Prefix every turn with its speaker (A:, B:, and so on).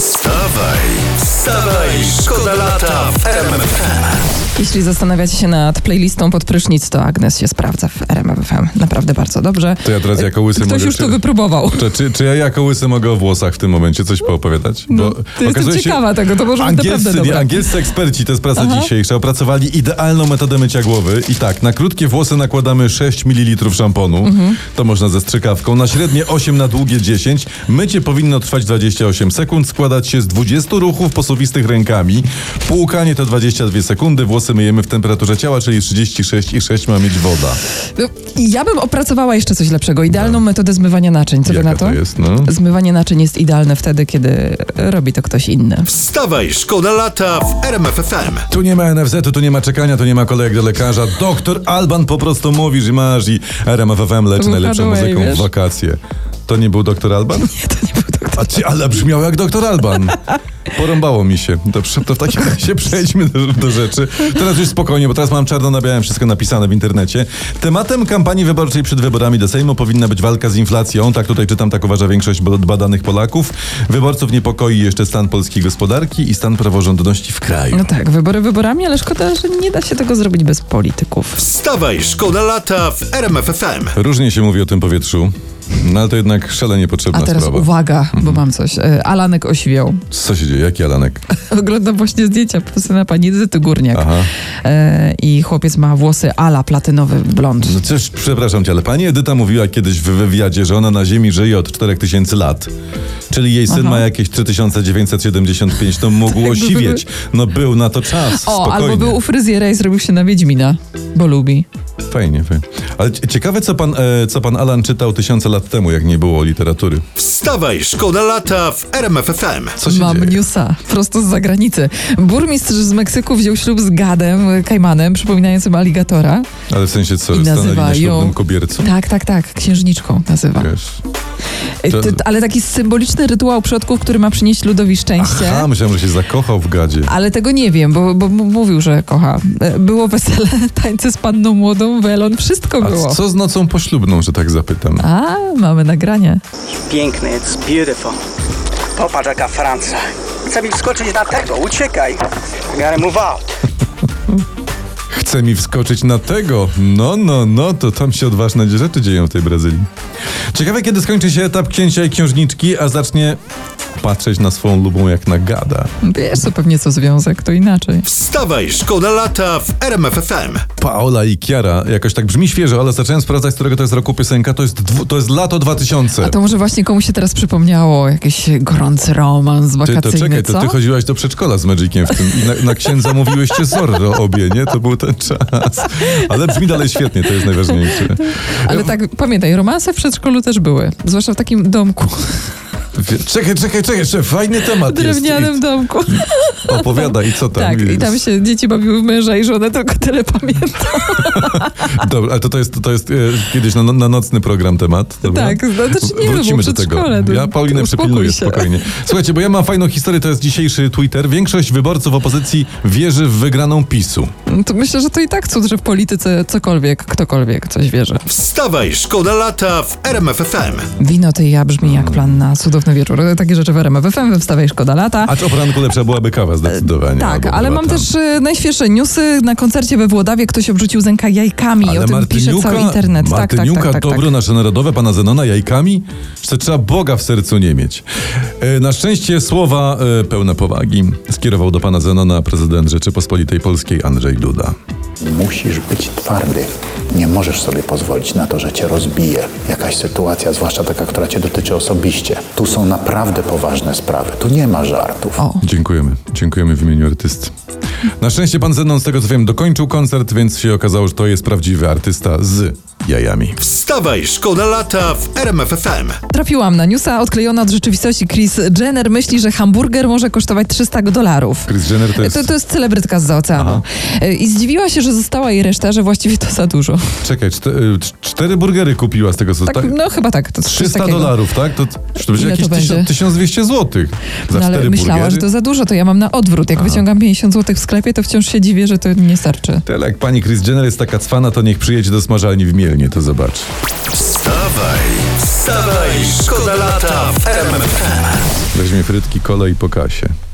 A: Wstawaj, wstawaj, szkoda lata w RMFFM.
B: Jeśli zastanawiacie się nad playlistą pod prysznic, to Agnes się sprawdza w RMF FM. Naprawdę bardzo dobrze.
C: To ja teraz jako łysy
B: Ktoś
C: mogę
B: już
C: się-
B: to wypróbował.
C: Czy, czy, czy ja jako łysy mogę o włosach w tym momencie coś poopowiadać? Bo
B: No, to jestem
C: okazuje się-
B: ciekawa tego, to może być naprawdę
C: Angielscy,
B: dobre.
C: angielscy eksperci, to jest praca dzisiejsza, opracowali idealną metodę mycia głowy. I tak, na krótkie włosy nakładamy 6 ml szamponu,
B: Mhm.
C: to można ze strzykawką, na średnie 8, na długie 10. Mycie powinno trwać 28 sekund, składać się z 20 ruchów posuwistych rękami. Płukanie to 22 sekundy, włosy myjemy w temperaturze ciała, czyli 36,6 ma mieć woda.
B: No, Ja bym opracowała jeszcze coś lepszego. Idealną metodę zmywania naczyń. Co wy
C: No. Jaka
B: na to?
C: to jest, no?
B: Zmywanie naczyń jest idealne wtedy, kiedy robi to ktoś inny.
A: Wstawaj, szkoda lata w RMFFM.
C: Tu nie ma NFZ-u, tu nie ma czekania, tu nie ma kolejek do lekarza. Doktor Alban po prostu mówi, że masz i RMFFM leczy
B: był
C: najlepszą
B: Hardaway,
C: muzyką
B: No wiesz?
C: w wakacje. To nie był doktor Alban?
B: Nie, to nie był doktor.
C: A ty, ale brzmiał jak doktor Alban. Porąbało mi się. Dobrze, to w takim razie przejdźmy do, do rzeczy. Teraz już spokojnie, bo teraz mam czarno na białym wszystko napisane w internecie. Tematem kampanii wyborczej przed wyborami do Sejmu powinna być walka z inflacją. Tak tutaj czytam, tak uważa większość ba- badanych Polaków. Wyborców niepokoi jeszcze stan polskiej gospodarki i stan praworządności w kraju.
B: No tak, wybory wyborami, ale szkoda, że nie da się tego zrobić bez polityków.
A: Wstawaj, szkoda lata w RMFFM.
C: Różnie się mówi o tym powietrzu, no ale to jednak szalenie potrzebna
B: A teraz
C: sprawa. Mhm.
B: uwaga, bo mam coś. E, Alanek osiwiał.
C: Co się dzieje? Jaki Alanek?
B: Oglądam właśnie zdjęcia syna pani Edyty Górniak.
C: Aha.
B: E, I chłopiec ma włosy ala platynowy blond.
C: No też, przepraszam cię, ale pani Edyta mówiła kiedyś w wywiadzie, że ona na Ziemi żyje od 4000 lat. Czyli jej syn
B: Aha.
C: ma jakieś 3975, to mógł
B: jakby
C: osiwieć. No był na to czas,
B: O,
C: spokojnie.
B: albo był u fryzjera i zrobił się na Wiedźmina, bo lubi.
C: Fajnie, fajnie. Ale cie- ciekawe, co pan, e, co pan Alan czytał tysiące lat temu, jak nie było literatury.
A: Wstawaj, szkoda lata w RMFFM.
C: Co się
B: Mam
C: dzieje?
B: newsa, prosto z zagranicy. Burmistrz z Meksyku wziął ślub z gadem, e, kajmanem, przypominającym aligatora.
C: Ale w sensie co,
B: I
C: stanęli
B: nazywa
C: na ślubnym
B: ją...
C: kobiercu?
B: Tak, tak, tak, księżniczką nazywa.
C: Wiesz.
B: E,
C: to-
B: Ty, ale taki symboliczny rytuał przodków, który ma przynieść ludowi szczęście.
C: A, myślałem, że się zakochał w gadzie.
B: Ale tego nie wiem, bo, bo m- mówił, że kocha. E, Było wesele, tańce z panną młodą, welon, wszystko było.
C: A co z nocą poślubną, że tak zapytam?
B: A, mamy nagranie.
D: Piękne, it's beautiful. Popatrz jaka Franca. Chcę mi wskoczyć na tego, uciekaj. I gotta move out.
C: Chce mi wskoczyć na tego. No, no, no, to tam się odważne rzeczy dzieją w tej Brazylii. Ciekawe, kiedy skończy się etap księcia i księżniczki, a zacznie patrzeć na swoją lubą jak na gada.
B: Wiesz, to pewnie co związek, to inaczej.
A: Wstawaj, szkoda lata w RMFFM.
C: Paola i Kiara, jakoś tak brzmi świeżo, ale zacząłem sprawdzać, z którego to jest roku piosenka. To jest, dwu, to jest lato 2000.
B: A to może właśnie komuś się teraz przypomniało, jakiś gorący romans
C: Ty,
B: wakacyjny,
C: to czekaj,
B: co?
C: to ty chodziłaś do przedszkola z Magiciem w tym i na, na księdza mówiłyście Zorro obie, nie? To był ten czas. Ale brzmi dalej świetnie, to jest najważniejsze.
B: Ale tak, pamiętaj, romanse w przedszkolu też były. Zwłaszcza w takim domku,
C: Wie- Czekaj, czekaj, czekaj, jeszcze fajny temat
B: drewnianym
C: jest.
B: domku.
C: I- Opowiada i co tam
B: tak,
C: jest.
B: i tam się dzieci bawiły w męża i żonę, tylko tyle pamiętam.
C: Dobra, ale to, to jest, to jest e, kiedyś na, na nocny program temat. Dobra?
B: Tak, no to czy nie, no
C: Wrócimy
B: bo
C: do tego.
B: przedszkole, to-
C: Ja Paulinę
B: to uspokój
C: przepilnuję
B: się.
C: spokojnie. Słuchajcie, bo ja mam fajną historię, to jest dzisiejszy Twitter. Większość wyborców opozycji wierzy w wygraną PiSu.
B: To myślę, że to i tak cud, że w polityce cokolwiek, ktokolwiek coś wierzy.
A: Wstawaj, szkoda lata w RMFFM.
B: Wino ty i ja brzmi jak plan na cudowny wieczór. Takie rzeczy w RMF FM, we wstawaj szkoda lata.
C: A czy o poranku lepsza byłaby kawa zdecydowanie.
B: Tak,
C: albo
B: ale mam
C: debata.
B: też y, najświeższe newsy. Na koncercie we Włodawie ktoś obrzucił zęka jajkami.
C: Ale
B: o tym pisze
C: Martyniuka-
B: cały internet. Tak, tak,
C: Martyniuka,
B: tak, tak,
C: dobro
B: tak.
C: nasze narodowe, pana Zenona jajkami? Że to trzeba Boga w sercu nie mieć. E, Na szczęście słowa e, pełne powagi skierował do pana Zenona prezydent Rzeczypospolitej Polskiej Andrzej Duda.
E: Musisz być twardy. Nie możesz sobie pozwolić na to, że cię rozbije jakaś sytuacja, zwłaszcza taka, która cię dotyczy osobiście. Tu są naprawdę poważne sprawy. Tu nie ma żartów.
B: O,
C: Dziękujemy. Dziękujemy w imieniu artysty. Na szczęście pan Zenon, z tego co wiem, dokończył koncert, więc się okazało, że to jest prawdziwy artysta z jajami.
A: Wstawaj, szkoda lata w RMFFM.
B: trafiłam na newsa odklejona od rzeczywistości. Chris Jenner myśli, że hamburger może kosztować 300 dolarów.
C: Chris Jenner to jest...
B: To, to jest celebrytka z oceanu. Y, I zdziwiła się, że została jej reszta, że właściwie to za dużo.
C: Czekaj, czte, y, cz- cztery burgery kupiła z tego co...
B: Tak,
C: tak?
B: no chyba tak. To coś
C: 300
B: takiego.
C: dolarów, tak? To, to będzie
B: Ile
C: jakieś
B: to
C: tysiąc-
B: będzie?
C: 1200 zł za
B: No, ale
C: cztery
B: myślała,
C: burgery.
B: że to za dużo, to ja mam na odwrót. Jak wyciągam 50 zł w sklepie, to wciąż się dziwię, że to nie starczy.
C: Tyle jak pani Chris Jenner jest taka cwana, to niech przyjedzie do smażalni w Mielnie, to zobaczy.
A: Wstawaj, wstawaj, szkoda lata w RMFFM.
C: Weźmie frytki, kole i po kasie.